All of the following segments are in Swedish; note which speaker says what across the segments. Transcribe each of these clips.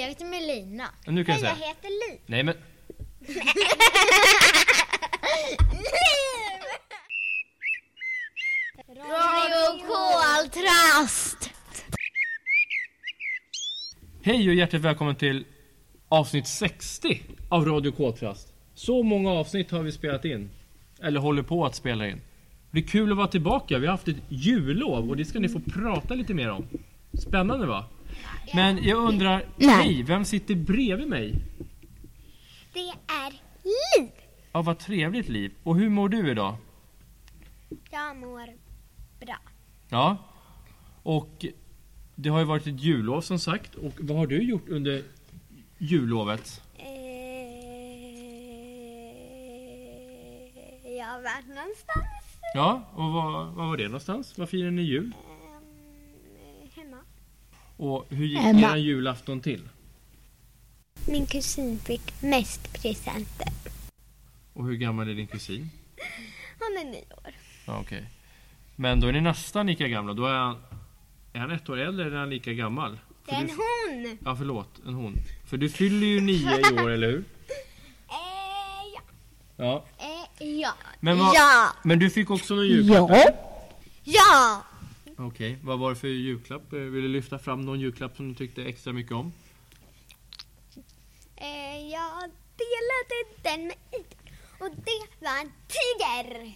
Speaker 1: Jag heter Melina.
Speaker 2: Och nu kan jag
Speaker 3: Hej, jag
Speaker 2: säga.
Speaker 3: heter Li.
Speaker 2: Nej men.
Speaker 1: Radio Koltrast!
Speaker 2: Hej och hjärtligt välkommen till avsnitt 60 av Radio K-trast. Så många avsnitt har vi spelat in. Eller håller på att spela in. Det är kul att vara tillbaka. Vi har haft ett jullov och det ska ni få prata lite mer om. Spännande va? Men jag undrar, hej, vem sitter bredvid mig?
Speaker 3: Det är Li.
Speaker 2: Ja, vad trevligt liv. Och hur mår du idag?
Speaker 3: Jag mår bra.
Speaker 2: Ja. Och det har ju varit ett jullov som sagt. Och vad har du gjort under jullovet?
Speaker 3: Eh, Jag har varit någonstans.
Speaker 2: Ja, och vad, vad var det någonstans? Vad firar ni jul?
Speaker 3: Ehm, Hemma.
Speaker 2: Och hur gick
Speaker 1: Emma.
Speaker 2: er julafton till?
Speaker 3: Min kusin fick mest presenter.
Speaker 2: Och hur gammal är din kusin?
Speaker 3: Han är nio år.
Speaker 2: Ja, okej. Men då är ni nästan lika gamla. Då är han... Är han ett år äldre eller är han lika gammal?
Speaker 3: Det är en
Speaker 2: du-
Speaker 3: hon.
Speaker 2: Ja, förlåt. En hon. För du fyller ju nio i år, eller hur?
Speaker 3: Eh, ja.
Speaker 2: Ja.
Speaker 3: Eh, ja.
Speaker 2: Men, vad,
Speaker 1: Ja!
Speaker 2: men du fick också någon julklapp?
Speaker 1: Ja!
Speaker 3: Ja.
Speaker 2: Okej. Vad var det för julklapp? Eh, Vill du lyfta fram någon julklapp som du tyckte extra mycket om?
Speaker 3: Eh, jag delade den med Idun. Och det var en tiger.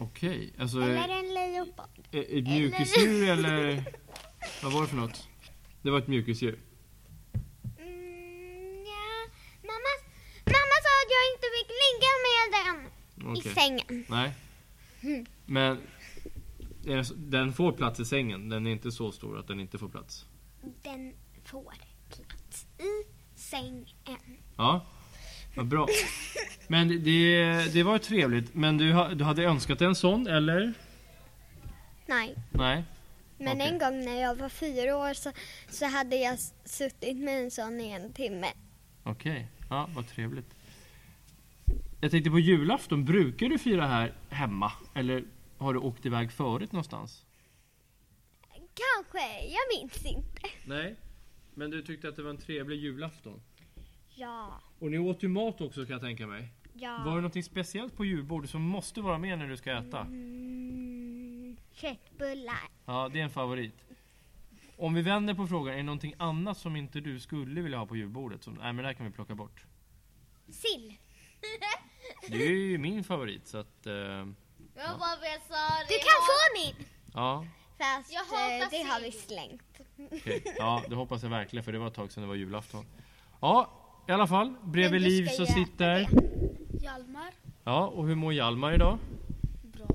Speaker 2: Okej. Alltså,
Speaker 3: Eller
Speaker 2: eh,
Speaker 3: en leopard.
Speaker 2: ett mjukisdjur eller? Vad var det för något? Det var ett mjukisdjur.
Speaker 3: Mm, ja. mamma, mamma sa att jag inte fick ligga med den
Speaker 2: Okej.
Speaker 3: i sängen.
Speaker 2: Nej. Men eh, den får plats i sängen. Den är inte så stor att den inte får plats.
Speaker 3: Den får plats i sängen.
Speaker 2: Ja, vad bra. Men det- det, det var trevligt. Men du, ha- du hade önskat dig en sån, eller?
Speaker 3: Nej,
Speaker 2: Nej.
Speaker 3: men
Speaker 2: Okej.
Speaker 3: en gång när jag var fyra år så, så hade jag s- suttit med en sån i en timme.
Speaker 2: Okej, ja, vad trevligt. Jag tänkte på julafton. Brukar du fira här hemma? Eller har du åkt iväg förut någonstans?
Speaker 3: Kanske, jag minns inte.
Speaker 2: Nej, men du tyckte att det var en trevlig julafton.
Speaker 3: Ja,
Speaker 2: Och ni åt ju mat också kan jag tänka mig.
Speaker 3: ja.
Speaker 2: Var det någonting speciellt på julbordet som måste vara med när du ska äta?
Speaker 3: Mm, köttbullar.
Speaker 2: Ja, det är en favorit. Om vi vänder på frågan, är det någonting annat som inte du skulle vilja ha på julbordet? Som, nej men det här kan vi plocka bort.
Speaker 3: Sill.
Speaker 2: Det är ju min favorit så att... Eh,
Speaker 4: Jag bara vill säga
Speaker 3: Du kan få min!
Speaker 2: ja,
Speaker 3: Fast
Speaker 4: Jag
Speaker 3: eh,
Speaker 4: hatar
Speaker 3: det har vi
Speaker 4: sill.
Speaker 3: slängt.
Speaker 2: okej. ja, det hoppas jag verkligen för det var ett tag sedan det var julafton. Ja, i alla fall. Bredvid
Speaker 3: Men du
Speaker 2: Liv
Speaker 3: ska
Speaker 2: så
Speaker 3: ju äta
Speaker 2: sitter...
Speaker 4: Hjalmar.
Speaker 2: Ja, och hur mår Hjalmar idag?
Speaker 4: Bra.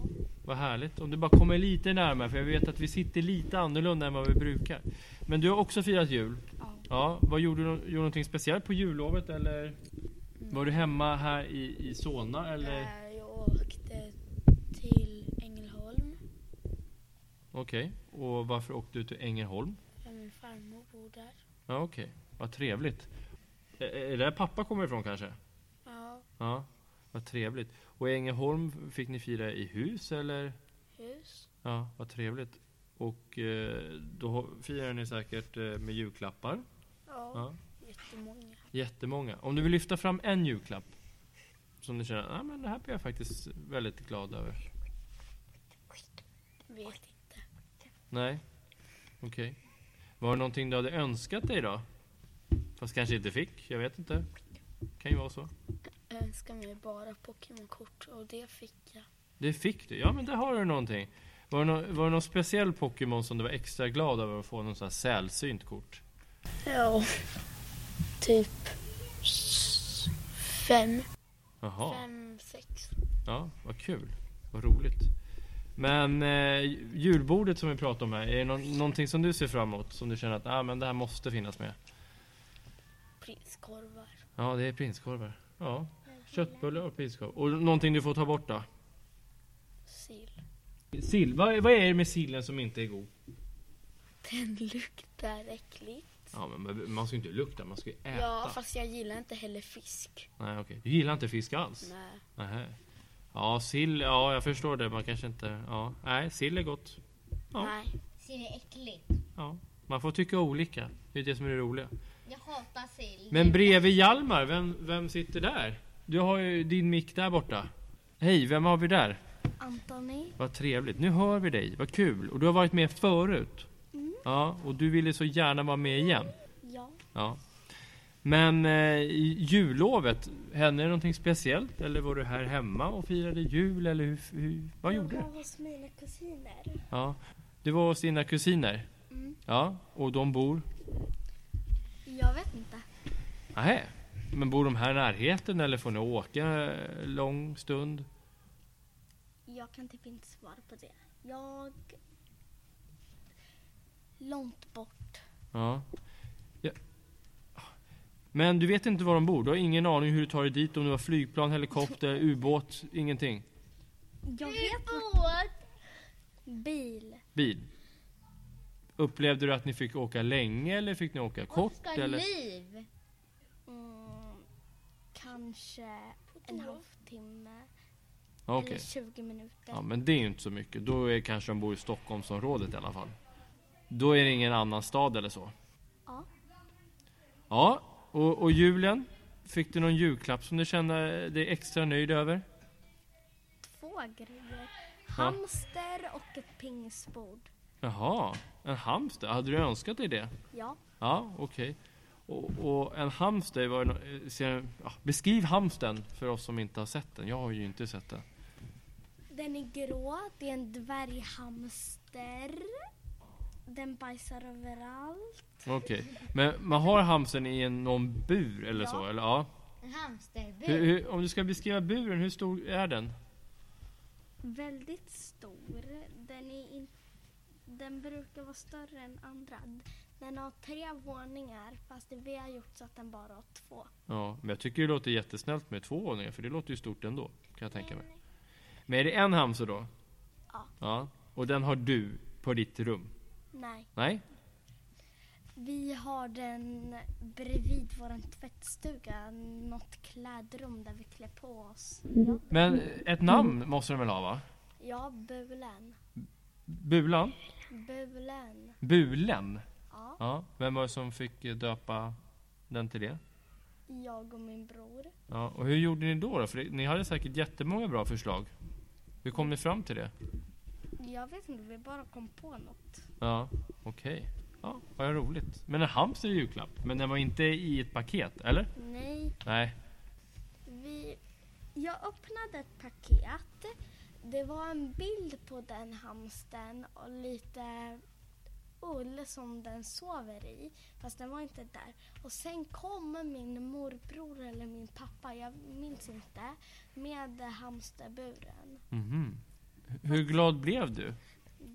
Speaker 2: Vad härligt. Om du bara kommer lite närmare för jag vet att vi sitter lite annorlunda än vad vi brukar. Men du har också firat jul.
Speaker 4: Ja.
Speaker 2: Ja, vad gjorde du? Gjorde du någonting speciellt på jullovet eller? Var du hemma här i, i Solna eller?
Speaker 4: Eh, Jag åkte till Ängelholm
Speaker 2: Okej, och varför åkte du till Ängelholm?
Speaker 4: där min farmor bor där.
Speaker 2: Ja, okej. Vad trevligt. Ä- Är det där pappa kommer ifrån kanske?
Speaker 4: Ja,
Speaker 2: Ja, vad trevligt. Och i Ängelholm fick ni fira i hus eller?
Speaker 4: hus.
Speaker 2: Ja, vad trevligt. Och eh, då firar ni säkert eh, med julklappar.
Speaker 4: Ja,
Speaker 2: Ja.
Speaker 4: jättemånga.
Speaker 2: Jättemånga. Om du vill lyfta fram en julklapp som du känner, nej men det här blir jag faktiskt väldigt glad över.
Speaker 4: Vet inte.
Speaker 2: Nej, okej. Var det någonting du hade önskat dig då? Fast kanske inte fick, jag vet inte. Kan ju vara så.
Speaker 4: Jag önskar mig bara Pokémon-kort och det fick jag.
Speaker 2: Det fick du, ja men där har du någonting. Var det, nå- var det någon speciell Pokémon som du var extra glad över att få någon sån här sällsynt kort?
Speaker 4: Ja, typ fem.
Speaker 2: Jaha,
Speaker 4: Fem, sex.
Speaker 2: ja vad kul. Vad roligt. Men eh, julbordet som vi pratade om här, är det nå- någonting som du ser fram emot? Som du känner att ah, men det här måste finnas med?
Speaker 4: Prinskorvar.
Speaker 2: Ja, det är prinskorvar. Ja, köttbullar och prinskorv. Och någonting du får ta bort då?
Speaker 4: Sill.
Speaker 2: Sill, vad, vad är det med sillen som inte är god?
Speaker 4: Den luktar äckligt.
Speaker 2: Ja, men- men man ska ju inte lukta, man ska ju äta.
Speaker 4: Ja, fast jag gillar inte heller fisk.
Speaker 2: Nej, okej. Du gillar inte fisk alls?
Speaker 4: Nej.
Speaker 2: Nähä. Ja, sill. Ja, jag förstår det. Man kanske inte... Ja. Nej, sill är gott. Ja.
Speaker 4: Nej.
Speaker 1: Ser det äckligt?
Speaker 2: Ja. Man får tycka olika. Det är det som är det roliga.
Speaker 3: Jag hatar sill.
Speaker 2: Men bredvid Hjalmar, vem, vem sitter där? Du har ju din mick där borta. Hej, vem har vi där?
Speaker 4: Antoni.
Speaker 2: Vad trevligt. Nu hör vi dig. Vad kul. Och du har varit med förut.
Speaker 3: Mm.
Speaker 2: Ja, och du ville så gärna vara med igen.
Speaker 4: Ja.
Speaker 2: Ja. Men eh, i jullovet, hände det någonting speciellt? Eller var du här hemma och firade jul? Eller hur, hur, vad gjorde du?
Speaker 4: hos mina kusiner.
Speaker 2: Ja. Du var hos dina kusiner?
Speaker 3: Mm.
Speaker 2: Ja, och de bor?
Speaker 4: Jag vet inte.
Speaker 2: Nähä. Men bor de här i närheten eller får ni åka eh, lång stund?
Speaker 4: Jag kan typ inte svara på det. Jag... Långt bort.
Speaker 2: Ja. ja. Men du vet inte var de bor? Du har ingen aning hur du tar dig dit? Om det var flygplan, helikopter, ubåt, ingenting?
Speaker 4: Jag
Speaker 3: Ubåt!
Speaker 4: Bil.
Speaker 2: Bil? Upplevde du att ni fick åka länge eller fick ni åka kort?
Speaker 3: Oskar
Speaker 2: eller?
Speaker 3: Liv!
Speaker 4: Mm, kanske en halvtimme.
Speaker 2: Ja, okej.
Speaker 4: Eller 20 minuter.
Speaker 2: Ja, men det är ju inte så mycket. Då är kanske de bor i Stockholmsområdet i alla fall. Då är det ingen annan stad eller så.
Speaker 4: Ja.
Speaker 2: Ja, och, och julen? Fick du någon julklapp som du kände dig extra nöjd över?
Speaker 4: Två grejer. Hamster och ett pingisbord.
Speaker 2: Jaha, en hamster. Hade du önskat dig det?
Speaker 4: Ja.
Speaker 2: Ja, okej. Och, och en hamster, var det nå- eh, ser, ja, beskriv hamsten för oss som inte har sett den. Jag har ju inte sett den.
Speaker 4: Den är grå. Det är en dvärghamster. Den bajsar överallt.
Speaker 2: Okej, men man har hamsten i en, någon bur eller
Speaker 4: Ja.
Speaker 2: så? Eller? Ja.
Speaker 3: En hamsterbur.
Speaker 2: Hur, hur, om du ska beskriva buren, hur stor är den?
Speaker 4: Väldigt stor. Den, är in... den brukar vara större än andra. Den har tre våningar fast vi har gjort så att den bara har två.
Speaker 2: Ja, men jag tycker det låter jättesnällt med två våningar, för det låter ju stort ändå. Kan jag tänka mig. Men är det en hamster då?
Speaker 4: Ja.
Speaker 2: ja. Och den har du på ditt rum?
Speaker 4: Nej.
Speaker 2: Nej?
Speaker 4: Vi har den bredvid vår tvättstuga. Något klädrum där vi klär på oss. Ja,
Speaker 2: Men ett namn måste den väl ha va?
Speaker 4: ja bulen.
Speaker 2: Bulan?
Speaker 4: Bulen.
Speaker 2: Bulen?
Speaker 4: Ja.
Speaker 2: Ja, vem var det som fick eh, döpa den till det?
Speaker 4: Jag och min bror.
Speaker 2: Ja, och hur gjorde ni då? då? För det, ni hade säkert jättemånga bra förslag. Hur kom ni fram till det?
Speaker 4: Jag vet inte, vi bara kom på något.
Speaker 2: Ja, okej. Ja, vad roligt. Men en hamster är julklapp. Men den var inte i ett paket, eller?
Speaker 4: Nej,
Speaker 2: Nej.
Speaker 4: vi... Jag öppnade ett paket. Det var en bild på den hamsten och lite ull som den sover i. Fast den var inte där. Och sen kom min morbror eller min pappa, jag minns inte, med hamsterburen.
Speaker 2: Mhm. Hur glad blev du?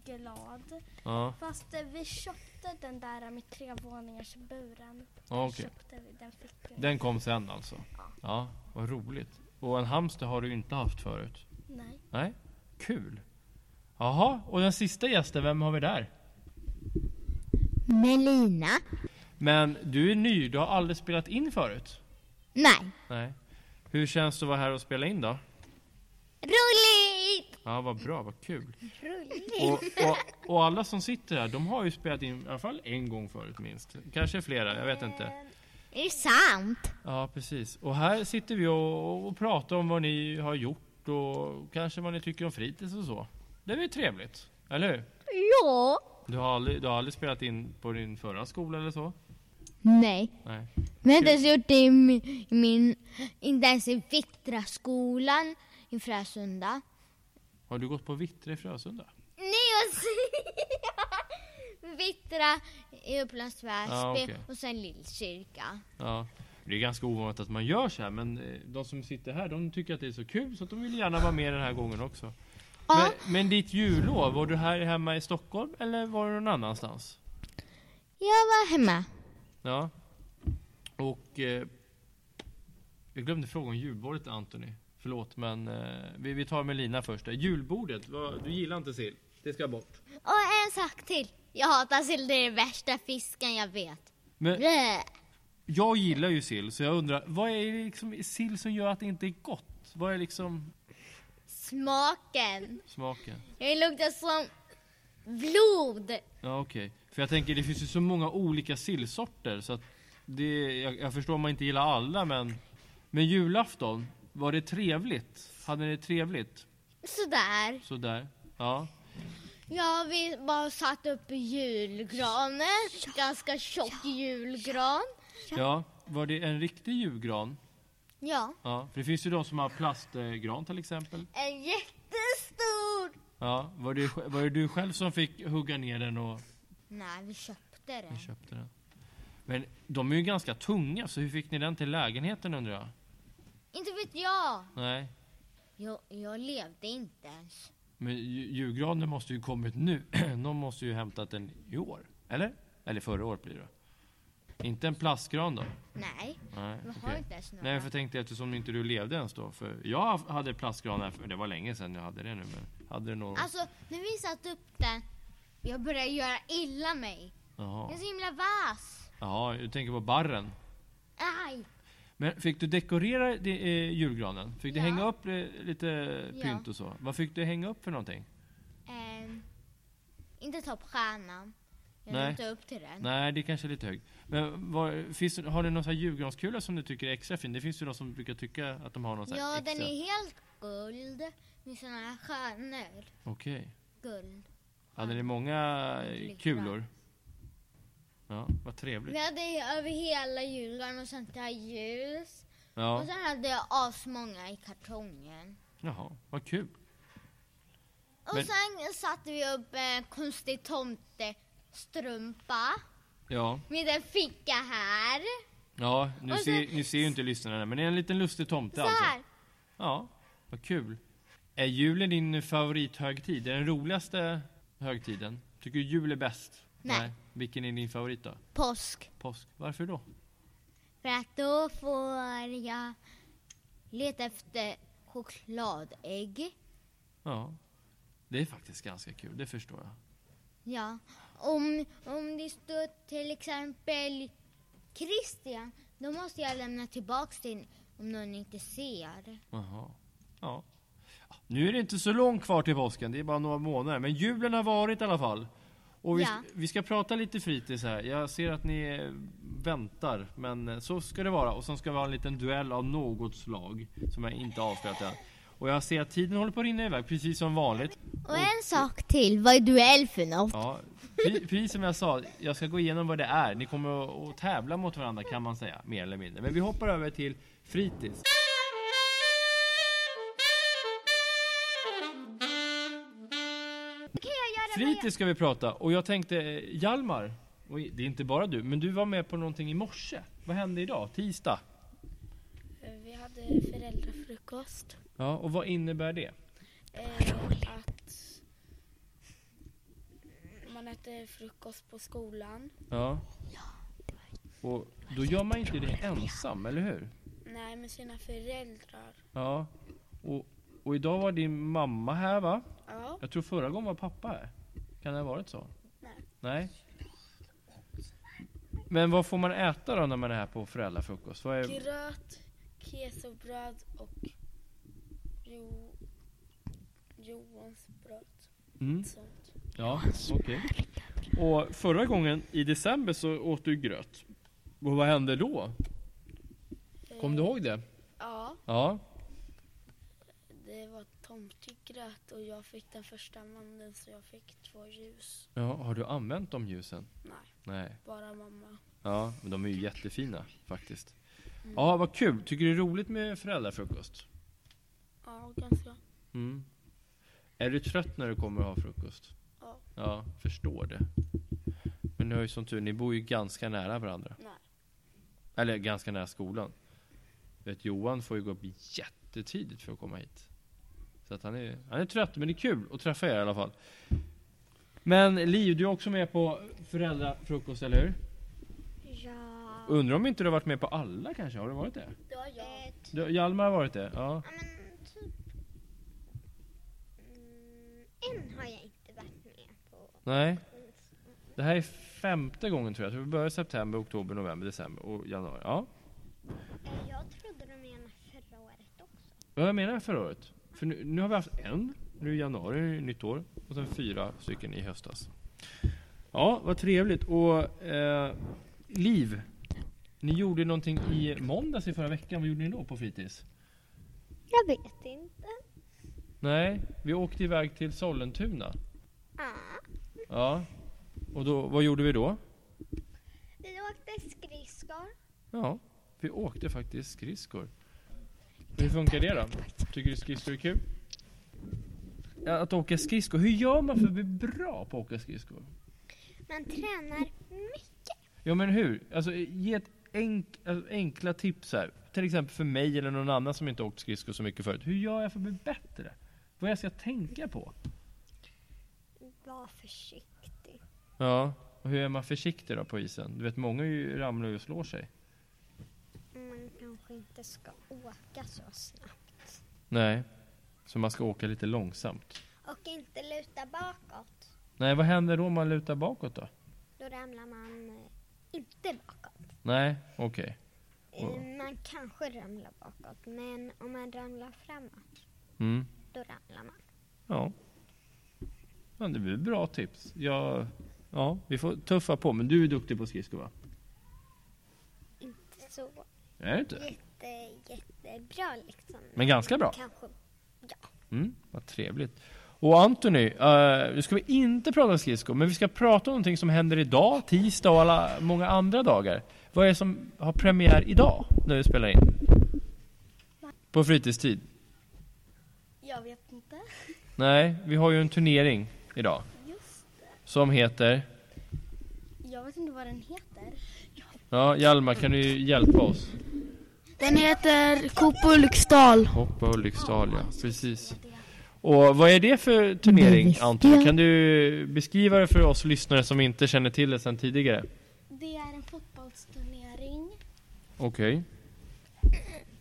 Speaker 4: Glad.
Speaker 2: Ja,
Speaker 4: Fast eh, vi köpte den där med tre våningars buren.
Speaker 2: ja, okej.
Speaker 4: Köpte vi, den fick vi.
Speaker 2: Den kom sen alltså? Ja, vad roligt. Och en hamster har du inte haft förut?
Speaker 4: Nej.
Speaker 2: Nej, kul. Jaha, och den sista gästen, vem har vi där?
Speaker 3: Melina?
Speaker 2: Men du är ny, du har aldrig spelat in förut?
Speaker 3: Nej.
Speaker 2: Nej. Hur känns det att vara här och spela in då?
Speaker 3: Roligt!
Speaker 2: Ja, vad bra, vad kul.
Speaker 3: Roligt!
Speaker 2: Och, och, och alla som sitter här, de har ju spelat in i alla fall en gång förut minst. Kanske flera, jag vet inte.
Speaker 3: Är det sant?
Speaker 2: Ja, precis. Och här sitter vi och, och pratar om vad ni har gjort och kanske vad ni tycker om fritids och så. Det är väl trevligt, eller hur?
Speaker 3: Ja.
Speaker 2: Du har aldrig, du har aldrig spelat in på din förra skola eller så?
Speaker 3: Nej.
Speaker 2: Nej.
Speaker 3: Vi har inte ens gjort det i min, min inte ens i Vittraskolan i Frösunda.
Speaker 2: Har du gått på Vittre i Frösunda?
Speaker 3: Nej, jag säger Vittra i Upplands Väsby
Speaker 2: Ja, okej.
Speaker 3: och sen Lillkyrka.
Speaker 2: Ja. Det är ganska ovanligt att man gör så här, men eh, de som sitter här, de tycker att det är så kul så att de vill gärna vara med den här gången också.
Speaker 3: Ja.
Speaker 2: Men, men ditt jullov, var du här hemma i Stockholm eller var du någon annanstans?
Speaker 3: Jag var hemma.
Speaker 2: Ja. Och... Eh, jag glömde fråga om julbordet, Anthony. Förlåt, men eh, vi, vi tar Melina först. Julbordet, vad, du gillar inte sill? Det ska bort.
Speaker 3: Och en sak till. Jag hatar sill, det är den värsta fisken jag vet.
Speaker 2: Men
Speaker 3: Blä.
Speaker 2: jag gillar ju sill, så jag undrar, vad är det liksom i sill som gör att det inte är gott? Vad är liksom
Speaker 3: Smaken.
Speaker 2: smaken?
Speaker 3: Det luktar som blod.
Speaker 2: Ja okej, för jag tänker det finns ju så många olika sillsorter så att det, jag, jag förstår om man inte gillar alla men... Men julafton, var det trevligt? Hade ni det trevligt?
Speaker 3: Sådär.
Speaker 2: Sådär. Ja.
Speaker 3: Ja, vi bara satt upp julgranen. Ganska tjock julgran.
Speaker 2: ja. Var det en riktig julgran?
Speaker 3: Ja.
Speaker 2: Ja. För det finns ju de som har plastgran till exempel.
Speaker 3: En jättestor.
Speaker 2: Ja. Var det, var det du själv som fick hugga ner den och
Speaker 3: Nej, vi köpte
Speaker 2: ni
Speaker 3: den.
Speaker 2: köpte den? Men de är ju ganska tunga, så hur fick ni den till lägenheten undrar jag?
Speaker 3: Inte vet jag.
Speaker 2: Nej.
Speaker 3: Jag, jag levde inte ens.
Speaker 2: Men ju- julgranen måste ju kommit nu. Någon måste ju hämtat den i år. Eller? Eller förra året blir det. Inte en plastgran då?
Speaker 3: Nej,
Speaker 2: Nej,
Speaker 3: jag har
Speaker 2: okej.
Speaker 3: inte ens några.
Speaker 2: Nej, för jag tänkte eftersom inte du levde ens då. För jag hade plastgran här, för det var länge sedan jag hade det nu. Men hade det någon?
Speaker 3: Alltså, när vi satte upp den, jag började göra illa mig.
Speaker 2: Jaha.
Speaker 3: Jag är så himla vass.
Speaker 2: Jaha, du tänker på barren.
Speaker 3: Aj!
Speaker 2: Men fick du dekorera det, eh, julgranen? Fick du
Speaker 3: Ja.
Speaker 2: hänga upp eh, lite
Speaker 3: Ja.
Speaker 2: pynt och så? Vad fick du hänga upp för någonting?
Speaker 3: Ehm, inte ta upp stjärnan. Jag
Speaker 2: Nej.
Speaker 3: når inte upp till den.
Speaker 2: Nej, det kanske är lite högt. Men vad, finns, har du någon sån här julgranskula som du tycker är extra fin? Det finns ju de som brukar tycka att de har någon sån här
Speaker 3: Ja,
Speaker 2: extra.
Speaker 3: den är helt guld med såna här stjärnor.
Speaker 2: Okej.
Speaker 3: Guld.
Speaker 2: Hade ni många eh,
Speaker 3: Lyckra.
Speaker 2: kulor? Ja, vad
Speaker 3: Vi
Speaker 2: trevligt.
Speaker 3: hade ju över hela julgranen och sånt där ljus.
Speaker 2: Ja,
Speaker 3: Och sen hade jag asmånga i kartongen.
Speaker 2: jaha, vad kul.
Speaker 3: Och
Speaker 2: Men-
Speaker 3: sen satte vi upp en konstig tomtestrumpa
Speaker 2: Ja,
Speaker 3: med en ficka här.
Speaker 2: ja nu,
Speaker 3: Och sen-
Speaker 2: ser, nu ser ju inte lyssnarna men det är en liten lustig tomte
Speaker 3: Så
Speaker 2: alltså.
Speaker 3: här.
Speaker 2: Ja, vad kul. Är julen din favorithögtid? Är den roligaste högtiden? Tycker du jul är bäst?
Speaker 3: Nej.
Speaker 2: Vilken är din favorit då?
Speaker 3: Påsk.
Speaker 2: Påsk? Varför då?
Speaker 3: För att då får jag leta efter chokladägg.
Speaker 2: Ja, det är faktiskt ganska kul, det förstår jag.
Speaker 3: Ja. Om, om det står till exempel Christian, då måste jag lämna tillbaks den om någon inte ser.
Speaker 2: Jaha. Ja. Nu är det inte så långt kvar till påsken, det är bara några månader. Men julen har varit i alla fall. Och vi,
Speaker 3: Ja.
Speaker 2: vi ska prata lite fritids här. Jag ser att ni eh, väntar, men eh, så ska det vara. Och sen ska vi ha en liten duell av något slag, som jag inte har avslöjat än. Och jag ser att tiden håller på att rinna iväg, precis som vanligt.
Speaker 3: Och en sak till, vad är duell för något?
Speaker 2: Ja, pre- precis som jag sa, jag ska gå igenom vad det är. Ni kommer att- att tävla mot varandra kan man säga, mer eller mindre. Men vi hoppar över till fritids.
Speaker 3: Då kan jag göra vad jag-
Speaker 2: Fritids ska vi prata och jag tänkte eh, Hjalmar, och det är inte bara du, men du var med på någonting i morse. Vad hände idag? Tisdag?
Speaker 5: Eh, Vi hade föräldrafrukost.
Speaker 2: Ja, och vad innebär det?
Speaker 5: Eh, att man äter frukost på skolan.
Speaker 2: Ja. Och då gör man inte det ensam, eller hur?
Speaker 5: Nej, med sina föräldrar.
Speaker 2: Ja. Och, och idag var din mamma här va?
Speaker 5: Ja.
Speaker 2: Jag tror förra gången var pappa här. Kan det ha varit så?
Speaker 5: Nej.
Speaker 2: Nej. Men vad får man äta då när man är här på föräldrafrukost? Vad är...
Speaker 5: Gröt, kesobröd och jo, Johans bröd.
Speaker 2: Mm.
Speaker 5: Sånt.
Speaker 2: Ja, okej. Och förra gången i december så åt du gröt. Och vad hände då? Kom du ihåg det?
Speaker 5: Eh, Ja,
Speaker 2: Ja.
Speaker 5: det var tomtegröt och jag fick den första mandeln så jag fick två ljus.
Speaker 2: ja. Har du använt de ljusen?
Speaker 5: Nej,
Speaker 2: Nej.
Speaker 5: bara mamma.
Speaker 2: Ja, men de är ju jättefina faktiskt. Ja, vad kul. Tycker du det är roligt med föräldrafrukost?
Speaker 5: Ja, ganska.
Speaker 2: Mm. Är du trött när du kommer att ha frukost?
Speaker 5: Ja.
Speaker 2: Ja, förstår det. Men ni har ju som tur, ni bor ju ganska nära varandra.
Speaker 5: Nej.
Speaker 2: Eller ganska nära skolan. Vet, Johan får ju gå upp jättetidigt för att komma hit. Så att han är, han är trött, men det är kul att träffa er i alla fall. Men Liv, du är också med på föräldrafrukost, eller hur?
Speaker 3: Ja.
Speaker 2: Undrar om inte du har varit med på alla kanske? Har du varit det?
Speaker 5: Det var jag.
Speaker 3: Eh,
Speaker 2: Du, Hjalmar har varit det? Ja.
Speaker 3: Ja, men typ... Mm, en har jag inte varit med på.
Speaker 2: Nej. Det här är femte gången tror jag. Så vi börjar i september, oktober, november, december och januari. Ja.
Speaker 6: Eh,
Speaker 3: Jag trodde de menade förra året också.
Speaker 2: Vad jag menar förra året? För nu, nu har vi haft en, nu i januari, nu är det nytt år. Och sen fyra stycken i höstas. Ja, vad trevligt. Och eh, Liv, Ni gjorde någonting i måndags i förra veckan. Vad gjorde ni då på fritids?
Speaker 6: Jag vet inte.
Speaker 2: Nej, vi åkte iväg till Sollentuna.
Speaker 6: Ah.
Speaker 2: Ja. Och då, vad gjorde vi då?
Speaker 6: Vi åkte skridskor.
Speaker 2: Ja, vi åkte faktiskt skridskor. Hur funkar det då? Tycker du skridskor är kul? Ja, Att åka skridskor, hur gör man för att bli bra på att åka skridskor?
Speaker 6: Man tränar mycket.
Speaker 2: Ja men hur? Alltså ge ett enk, alltså, enkla tips här. Till exempel för mig eller någon annan som inte åkt skridskor så mycket förut. Hur gör jag för att bli bättre? Vad jag ska tänka på?
Speaker 6: Var försiktig.
Speaker 2: Ja, och hur är man försiktig då på isen? Du vet många ju ramlar ju och slår sig.
Speaker 6: Man kanske inte ska åka så snabbt.
Speaker 2: Nej, så man ska åka lite långsamt.
Speaker 6: Och inte luta bakåt.
Speaker 2: Nej, vad händer då om man lutar bakåt då?
Speaker 6: Då ramlar man eh, inte bakåt.
Speaker 2: Nej, okej.
Speaker 6: Eh,
Speaker 2: Ja.
Speaker 6: Man kanske ramlar bakåt, men om man ramlar framåt,
Speaker 2: Mm.
Speaker 6: då ramlar man.
Speaker 2: Ja. Men det blir bra tips. Ja, ja, vi får tuffa på. Men du är duktig på skridskor va?
Speaker 6: Inte så
Speaker 2: Är du inte?
Speaker 6: jätte, jättebra liksom.
Speaker 2: Men ganska bra.
Speaker 6: Kanske.
Speaker 2: Mm, vad trevligt. Och Anthony, eh, nu ska vi inte prata skridskor, men vi ska prata om någonting som händer idag, tisdag och alla många andra dagar. Vad är det som har premiär idag, när vi spelar in? På fritidstid?
Speaker 4: Jag vet inte.
Speaker 2: Nej, vi har ju en turnering idag.
Speaker 4: Just
Speaker 2: Som heter?
Speaker 4: Jag vet inte vad den heter.
Speaker 2: Ja, Hjalmar, kan du hjälpa oss?
Speaker 5: Den heter Coop Ulriksdal.
Speaker 2: Hoppa och Lyxdal, ja. Precis. Och vad är det för turnering, Anton? Kan du beskriva det för oss lyssnare som inte känner till det sedan tidigare?
Speaker 4: Det är en fotbollsturnering.
Speaker 2: Okej.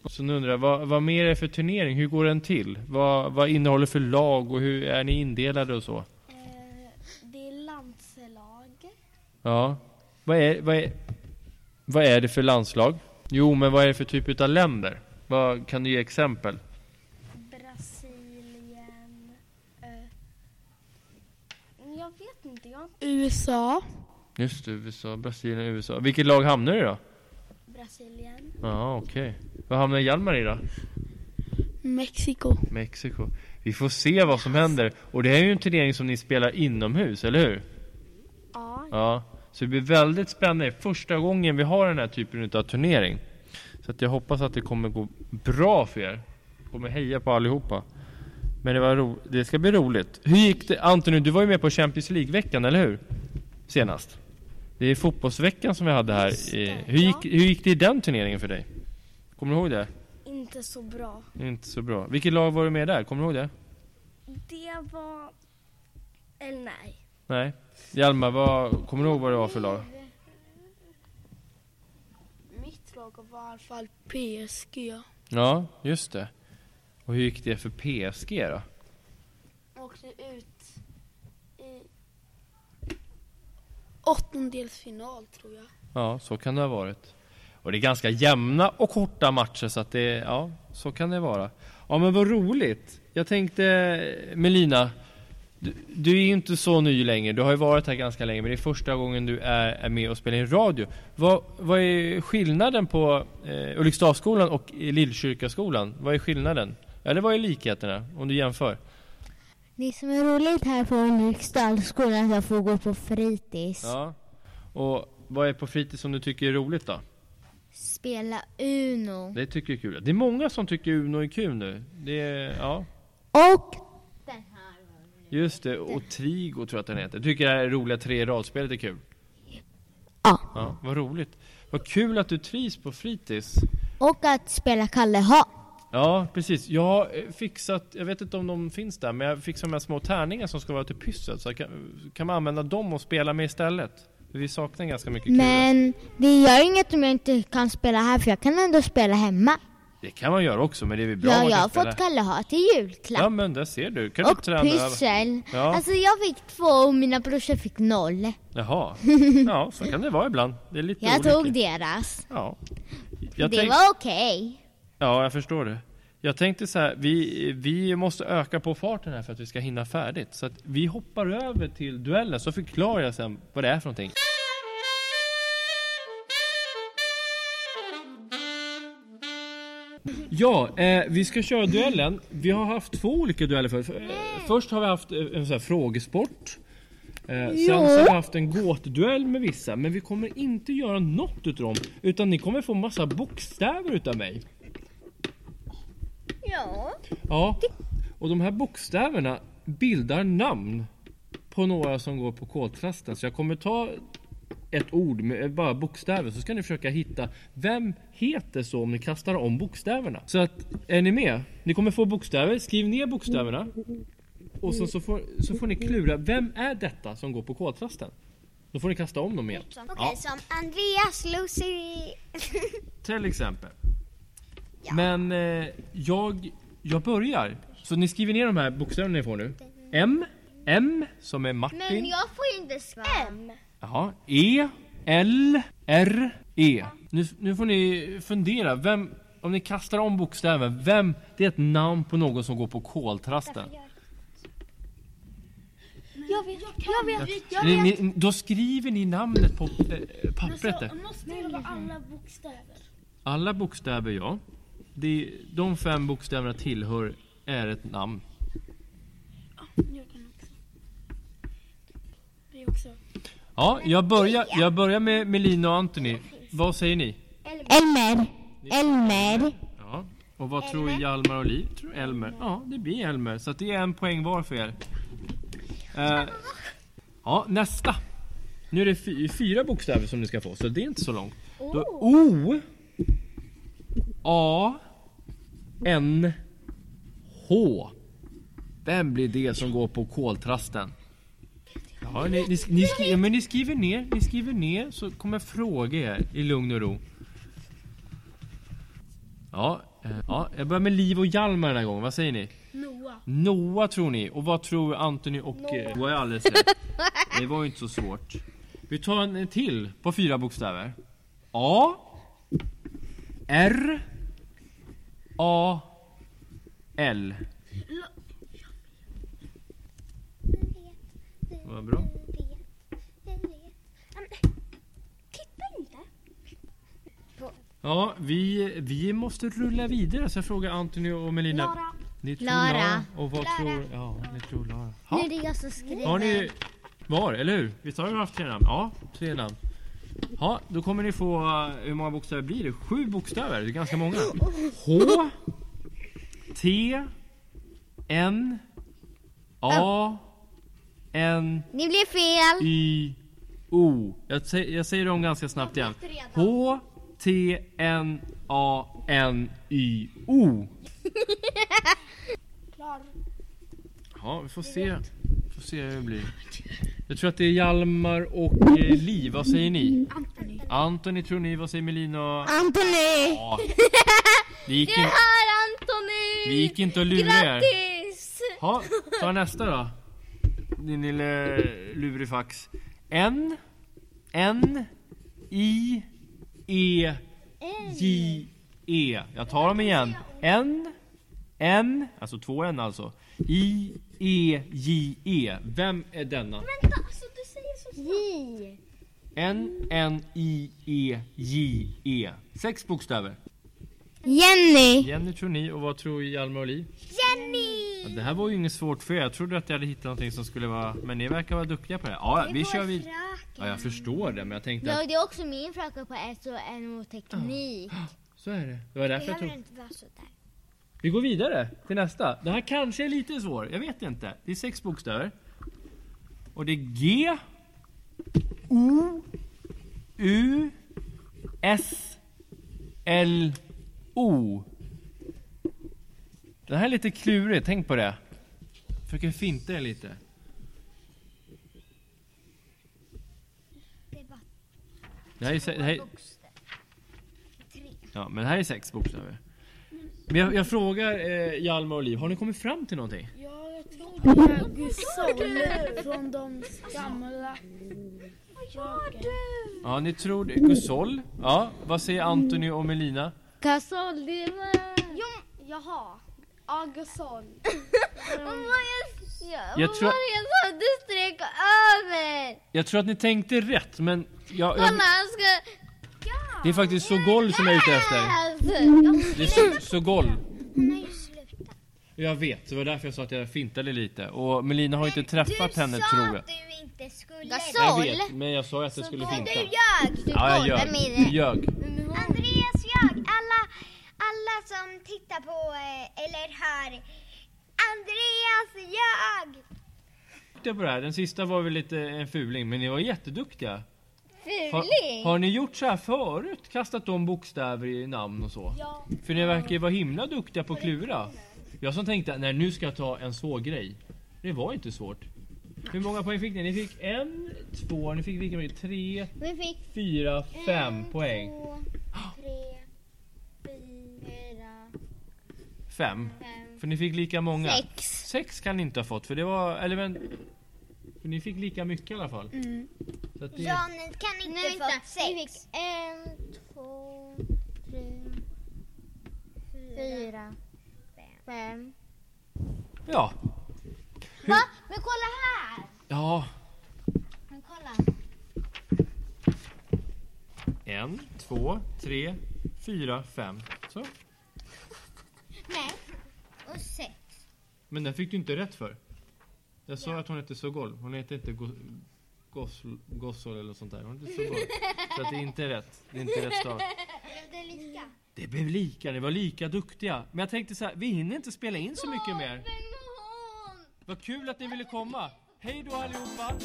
Speaker 2: Och så nu undrar jag, vad, vad mer är det för turnering? Hur går den till? Vad, vad innehåller för lag och hur är ni indelade och så?
Speaker 4: Eh, det är landslag.
Speaker 2: Ja. Vad är, vad är, vad är det för landslag? Jo, men vad är det för typ av länder? Vad, kan du ge exempel?
Speaker 4: Brasilien. Eh, jag vet inte. Jag
Speaker 5: USA.
Speaker 2: Just det, USA, Brasilien, USA. Vilket lag hamnar du i då?
Speaker 4: Brasilien.
Speaker 2: Ja, okej. Vad hamnar Hjalmar i då?
Speaker 5: Mexiko.
Speaker 2: Mexiko. Vi får se vad som händer. Och det här är ju en turnering som ni spelar inomhus, eller hur?
Speaker 4: Ja.
Speaker 2: Ja. Så det blir väldigt spännande. Det är Första gången vi har den här typen av turnering. Så att jag hoppas att det kommer gå bra för er. Kommer heja på allihopa. Men det, var ro- det ska bli roligt. Hur gick det? Antoni, du var ju med på Champions League-veckan, eller hur? Senast. Det är fotbollsveckan som vi hade här. i- Hur gick, hur gick det i den turneringen för dig? Kommer du ihåg det?
Speaker 4: Inte så bra.
Speaker 2: Inte så bra. Vilket lag var du med där? Kommer du ihåg det?
Speaker 4: Det var... Eller nej.
Speaker 2: Nej. Hjalmar, vad, kommer du ihåg vad det var för lag?
Speaker 5: Mitt lag var i alla fall PSG.
Speaker 2: Ja, just det. Och hur gick det för PSG då?
Speaker 5: Åkte ut i åttondelsfinal tror jag.
Speaker 2: Ja, så kan det ha varit. Och det är ganska jämna och korta matcher så att det, ja, så kan det vara. Ja men vad roligt! Jag tänkte, Melina, du, du är ju inte så ny längre, du har ju varit här ganska länge men det är första gången du är, är med och spelar i radio. Vad, vad är skillnaden på eh, Ulriksdalsskolan och i Lillkyrkaskolan? Vad är skillnaden? Eller vad är likheterna om du jämför?
Speaker 3: Det som är roligt här på Ulriksdalsskolan är att jag får gå på fritids.
Speaker 2: Ja. Och vad är på fritids som du tycker är roligt då?
Speaker 3: Spela Uno.
Speaker 2: Det tycker jag är kul. Det är många som tycker Uno är kul nu. Det är, ja.
Speaker 3: Och
Speaker 2: Just det, och Trigo tror jag att den heter. Tycker det här roliga tre i radspelet är kul.
Speaker 3: Ja.
Speaker 2: ja. Vad roligt. Vad kul att du trivs på fritids.
Speaker 3: Och att spela Kalle Ha.
Speaker 2: Ja, precis. Jag har eh, fixat, jag vet inte om de finns där, men jag fixar de här små tärningar som ska vara till pyssel. Så jag kan, kan man använda dem och spela med istället? För vi saknar ganska mycket kul.
Speaker 3: Men det gör inget om jag inte kan spela här för jag kan ändå spela hemma.
Speaker 2: Det kan man göra också, men det är väl bra om
Speaker 3: ja,
Speaker 2: man
Speaker 3: jag
Speaker 2: kan
Speaker 3: har
Speaker 2: spela.
Speaker 3: fått Kalle Ha till
Speaker 2: Ja,
Speaker 3: julklapp.
Speaker 2: men där ser du. Kan
Speaker 3: och
Speaker 2: du träna?
Speaker 3: pyssel.
Speaker 2: Ja.
Speaker 3: Alltså jag fick två och mina brorsor fick noll.
Speaker 2: Jaha. Ja, så kan det vara ibland. Det är lite
Speaker 3: Jag
Speaker 2: olika.
Speaker 3: tog deras.
Speaker 2: Ja. Jag
Speaker 3: det
Speaker 2: tänk-
Speaker 3: var okej.
Speaker 2: Ja, jag förstår det. Jag tänkte så här, vi, vi måste öka på farten här för att vi ska hinna färdigt. Så att vi hoppar över till duellen så förklarar jag sen vad det är för någonting. Ja, eh, vi ska köra duellen. Vi har haft två olika dueller förut. För, eh, först har vi haft eh, en sån här frågesport. Eh, sen så har vi haft en gåtduell med vissa, men vi kommer inte göra något utav dem. Utan ni kommer få massa bokstäver utav mig.
Speaker 3: Ja.
Speaker 2: Ja, och de här bokstäverna bildar namn på några som går på koltrasten. Så jag kommer ta ett ord med bara bokstäver så ska ni försöka hitta vem heter så om ni kastar om bokstäverna. Så att är ni med? Ni kommer få bokstäver. Skriv ner bokstäverna. Och sen så får, så får ni klura. Vem är detta som går på koltrasten? Då får ni kasta om dem igen.
Speaker 6: Okej, som Andreas, Lucy...
Speaker 2: Till exempel. Men eh, jag, jag börjar. Så ni skriver ner de här bokstäverna ni får nu. M, M som är
Speaker 3: Men
Speaker 2: Martin.
Speaker 3: jag får inte svara.
Speaker 4: M.
Speaker 2: Jaha. E, L, R, E. Nu, nu får ni fundera. Vem, om ni kastar om bokstäver, vem? Det är ett namn på någon som går på koltrasten.
Speaker 4: Jag vet, jag vet, jag
Speaker 2: Ni,
Speaker 4: vet.
Speaker 2: ni, då skriver ni namnet på eh, pappret där.
Speaker 4: måste det vara alla bokstäver?
Speaker 2: Alla bokstäver ja. De, de fem bokstäverna tillhör är ett namn.
Speaker 5: Jag kan också. Vi också.
Speaker 2: Ja, jag börjar, jag börjar med Melina och Anthony. Vad säger ni?
Speaker 3: Elmer. Elmer.
Speaker 2: Ja. Och vad tror Hjalmar och Liv? Tror Elmer. Ja, det blir Elmer. Så att det är en poäng var för er. Eh, ja, nästa. Nu är det fy, fyra bokstäver som ni ska få, så det är inte så långt. Då, o. A. N. H. Vem blir det som går på koltrasten? Ja, ni, ni, ni, skriver, men ni skriver ner, ni skriver ner så kommer jag fråga er i lugn och ro. Ja, eh, ja, jag börjar med Liv och Hjalmar den här gången. Vad säger ni?
Speaker 4: Noah.
Speaker 2: Noah tror ni. Och vad tror Anthony och eh, Noah? Noah är alldeles rätt. Det var ju inte så svårt. Vi tar en till på fyra bokstäver. A. R. A. L. Vad bra.
Speaker 4: eh, Titta inte.
Speaker 2: Ja, vi, vi måste rulla vidare. Så jag frågar Anthony och Melina.
Speaker 4: Lara.
Speaker 2: Ni tror
Speaker 3: Lara.
Speaker 2: Och vad tror... Ja, ni tror Lara.
Speaker 3: Nu
Speaker 2: Ha.
Speaker 3: är det jag som skriver.
Speaker 2: Har ni var, eller hur? Visst har vi haft tre namn? Ja, tre namn. Ja, då kommer ni få, eh, hur många bokstäver blir det? Sju bokstäver, det är ganska många. H T N A N
Speaker 3: Ni blev fel.
Speaker 2: Y O. Jag, sä- jag säger dem ganska snabbt igen. H T N A N Y O.
Speaker 4: Klar.
Speaker 2: Ja, vi får se. Får se hur det blir. Jag tror att det är Hjalmar och eh, Liv. Vad säger ni? Anthony. Anthony tror ni. Vad säger Melina? och-
Speaker 3: Anthony!
Speaker 2: Ja. Det gick,
Speaker 3: Du
Speaker 2: in,
Speaker 3: hör Anthony!
Speaker 2: det gick inte att lura er.
Speaker 3: Grattis!
Speaker 2: Ja, ta nästa då. Din lille lurifax. N N I E J E. Jag tar dem igen. N N, alltså två N alltså. I E J E. Vem är denna?
Speaker 4: Vänta, alltså du säger så
Speaker 3: J.
Speaker 2: N N I E J E. Sex bokstäver.
Speaker 3: Jenny.
Speaker 2: Jenny tror ni och vad tror Hjalmar och Liv?
Speaker 3: Jenny!
Speaker 2: Ja, Det här var ju inget svårt för er. Jag trodde att jag hade hittat någonting som skulle vara... Men ni verkar vara duktiga på det. här. Ja, vi kör vid. Ja, jag förstår det, men jag tänkte att...
Speaker 3: Ja, det är också min fråga på S och NO teknik.
Speaker 2: Så är det. Det var därför jag
Speaker 6: behöver
Speaker 2: tog...
Speaker 6: inte vara sådär.
Speaker 2: Vi går vidare till nästa. Den här kanske är lite svår. Jag vet inte. Det är sex bokstäver. Och det är G... O... U... S... L... O. Den här är lite klurig. Tänk på det. Försöker finta er lite.
Speaker 6: Det är bara
Speaker 2: Det här är, se- det här är,
Speaker 6: bokstäver.
Speaker 2: Ja, men det här är sex bokstäver. Men jag, jag frågar eh, Hjalmar och Liv, har ni kommit fram till någonting?
Speaker 5: Ja, jag tror det är Gustavsson från de gamla.
Speaker 2: Ja, ni tror det. Gusol. Ja, vad säger Anthony och Melina?
Speaker 3: Gasol, det var...
Speaker 4: Jo, jaha. Augustsson.
Speaker 3: Ja,
Speaker 2: Jag
Speaker 3: vad
Speaker 2: tror-
Speaker 3: var det jag sa? Du strök över!
Speaker 2: Jag tror att ni tänkte rätt, men... Jag, jag,
Speaker 3: Kolla, han ska...
Speaker 4: Ja!
Speaker 2: Det är faktiskt Sogol som jag är ute efter.
Speaker 3: Alltså,
Speaker 2: Det är So- Sogol.
Speaker 6: Hon har ju slutat.
Speaker 2: Jag vet, det var därför jag sa att jag fintade lite. Och Melina har inte träffat henne tror jag.
Speaker 6: du inte skulle.
Speaker 2: Jag
Speaker 3: Gasol!
Speaker 2: vet, men jag sa ju att jag skulle
Speaker 3: Men du
Speaker 2: finta.
Speaker 3: ljög! Du
Speaker 2: Ja, jag
Speaker 3: dolde
Speaker 2: ljög. Du
Speaker 3: mig.
Speaker 2: ljög.
Speaker 6: Andreas jag. Alla, alla som tittar på eh, eller hör. Andreas jag.
Speaker 2: duktiga på det här. Den sista var väl lite en fuling, men ni var jätteduktiga. Har,
Speaker 3: Fuling!
Speaker 2: har ni gjort så här förut? Kastat om bokstäver i namn och så?
Speaker 4: Ja.
Speaker 2: För ni verkar ju vara himla duktiga på att klura. Jag som tänkte, nej nu ska jag ta en svår grej. Det var inte svårt. Hur många poäng fick ni? Ni fick en, två, ni fick vilka poäng? Tre,
Speaker 3: Vi fick
Speaker 2: fyra, fem poäng.
Speaker 3: två, tre, fyra,
Speaker 2: Fem.
Speaker 3: fem,
Speaker 2: För ni fick lika många.
Speaker 3: sex.
Speaker 2: Sex kan ni inte ha fått, för det var, eller men... För ni fick lika mycket i alla fall. Så att det,
Speaker 6: Ja, ni kan inte
Speaker 3: Nej,
Speaker 6: få
Speaker 3: vänta.
Speaker 6: sex.
Speaker 3: Vi fick en, två, tre, fyra, fem.
Speaker 2: ja.
Speaker 3: Va? Men kolla här!
Speaker 2: Ja.
Speaker 3: Men kolla.
Speaker 2: En, två, tre, fyra, fem. Så.
Speaker 3: Nej. Och sex.
Speaker 2: Men den fick du inte rätt för. Jag sa att hon hette Sogol. Hon heter inte Go- Gosl- Gossol eller sånt där. Hon heter Sogol. Så att det är inte rätt. Det är inte rätt stav.
Speaker 3: Det är lika.
Speaker 2: Det blev lika. Ni var lika duktiga. Men jag tänkte så här, vi hinner inte spela in så mycket mer. Vad kul att ni ville komma. Hej då allihopa!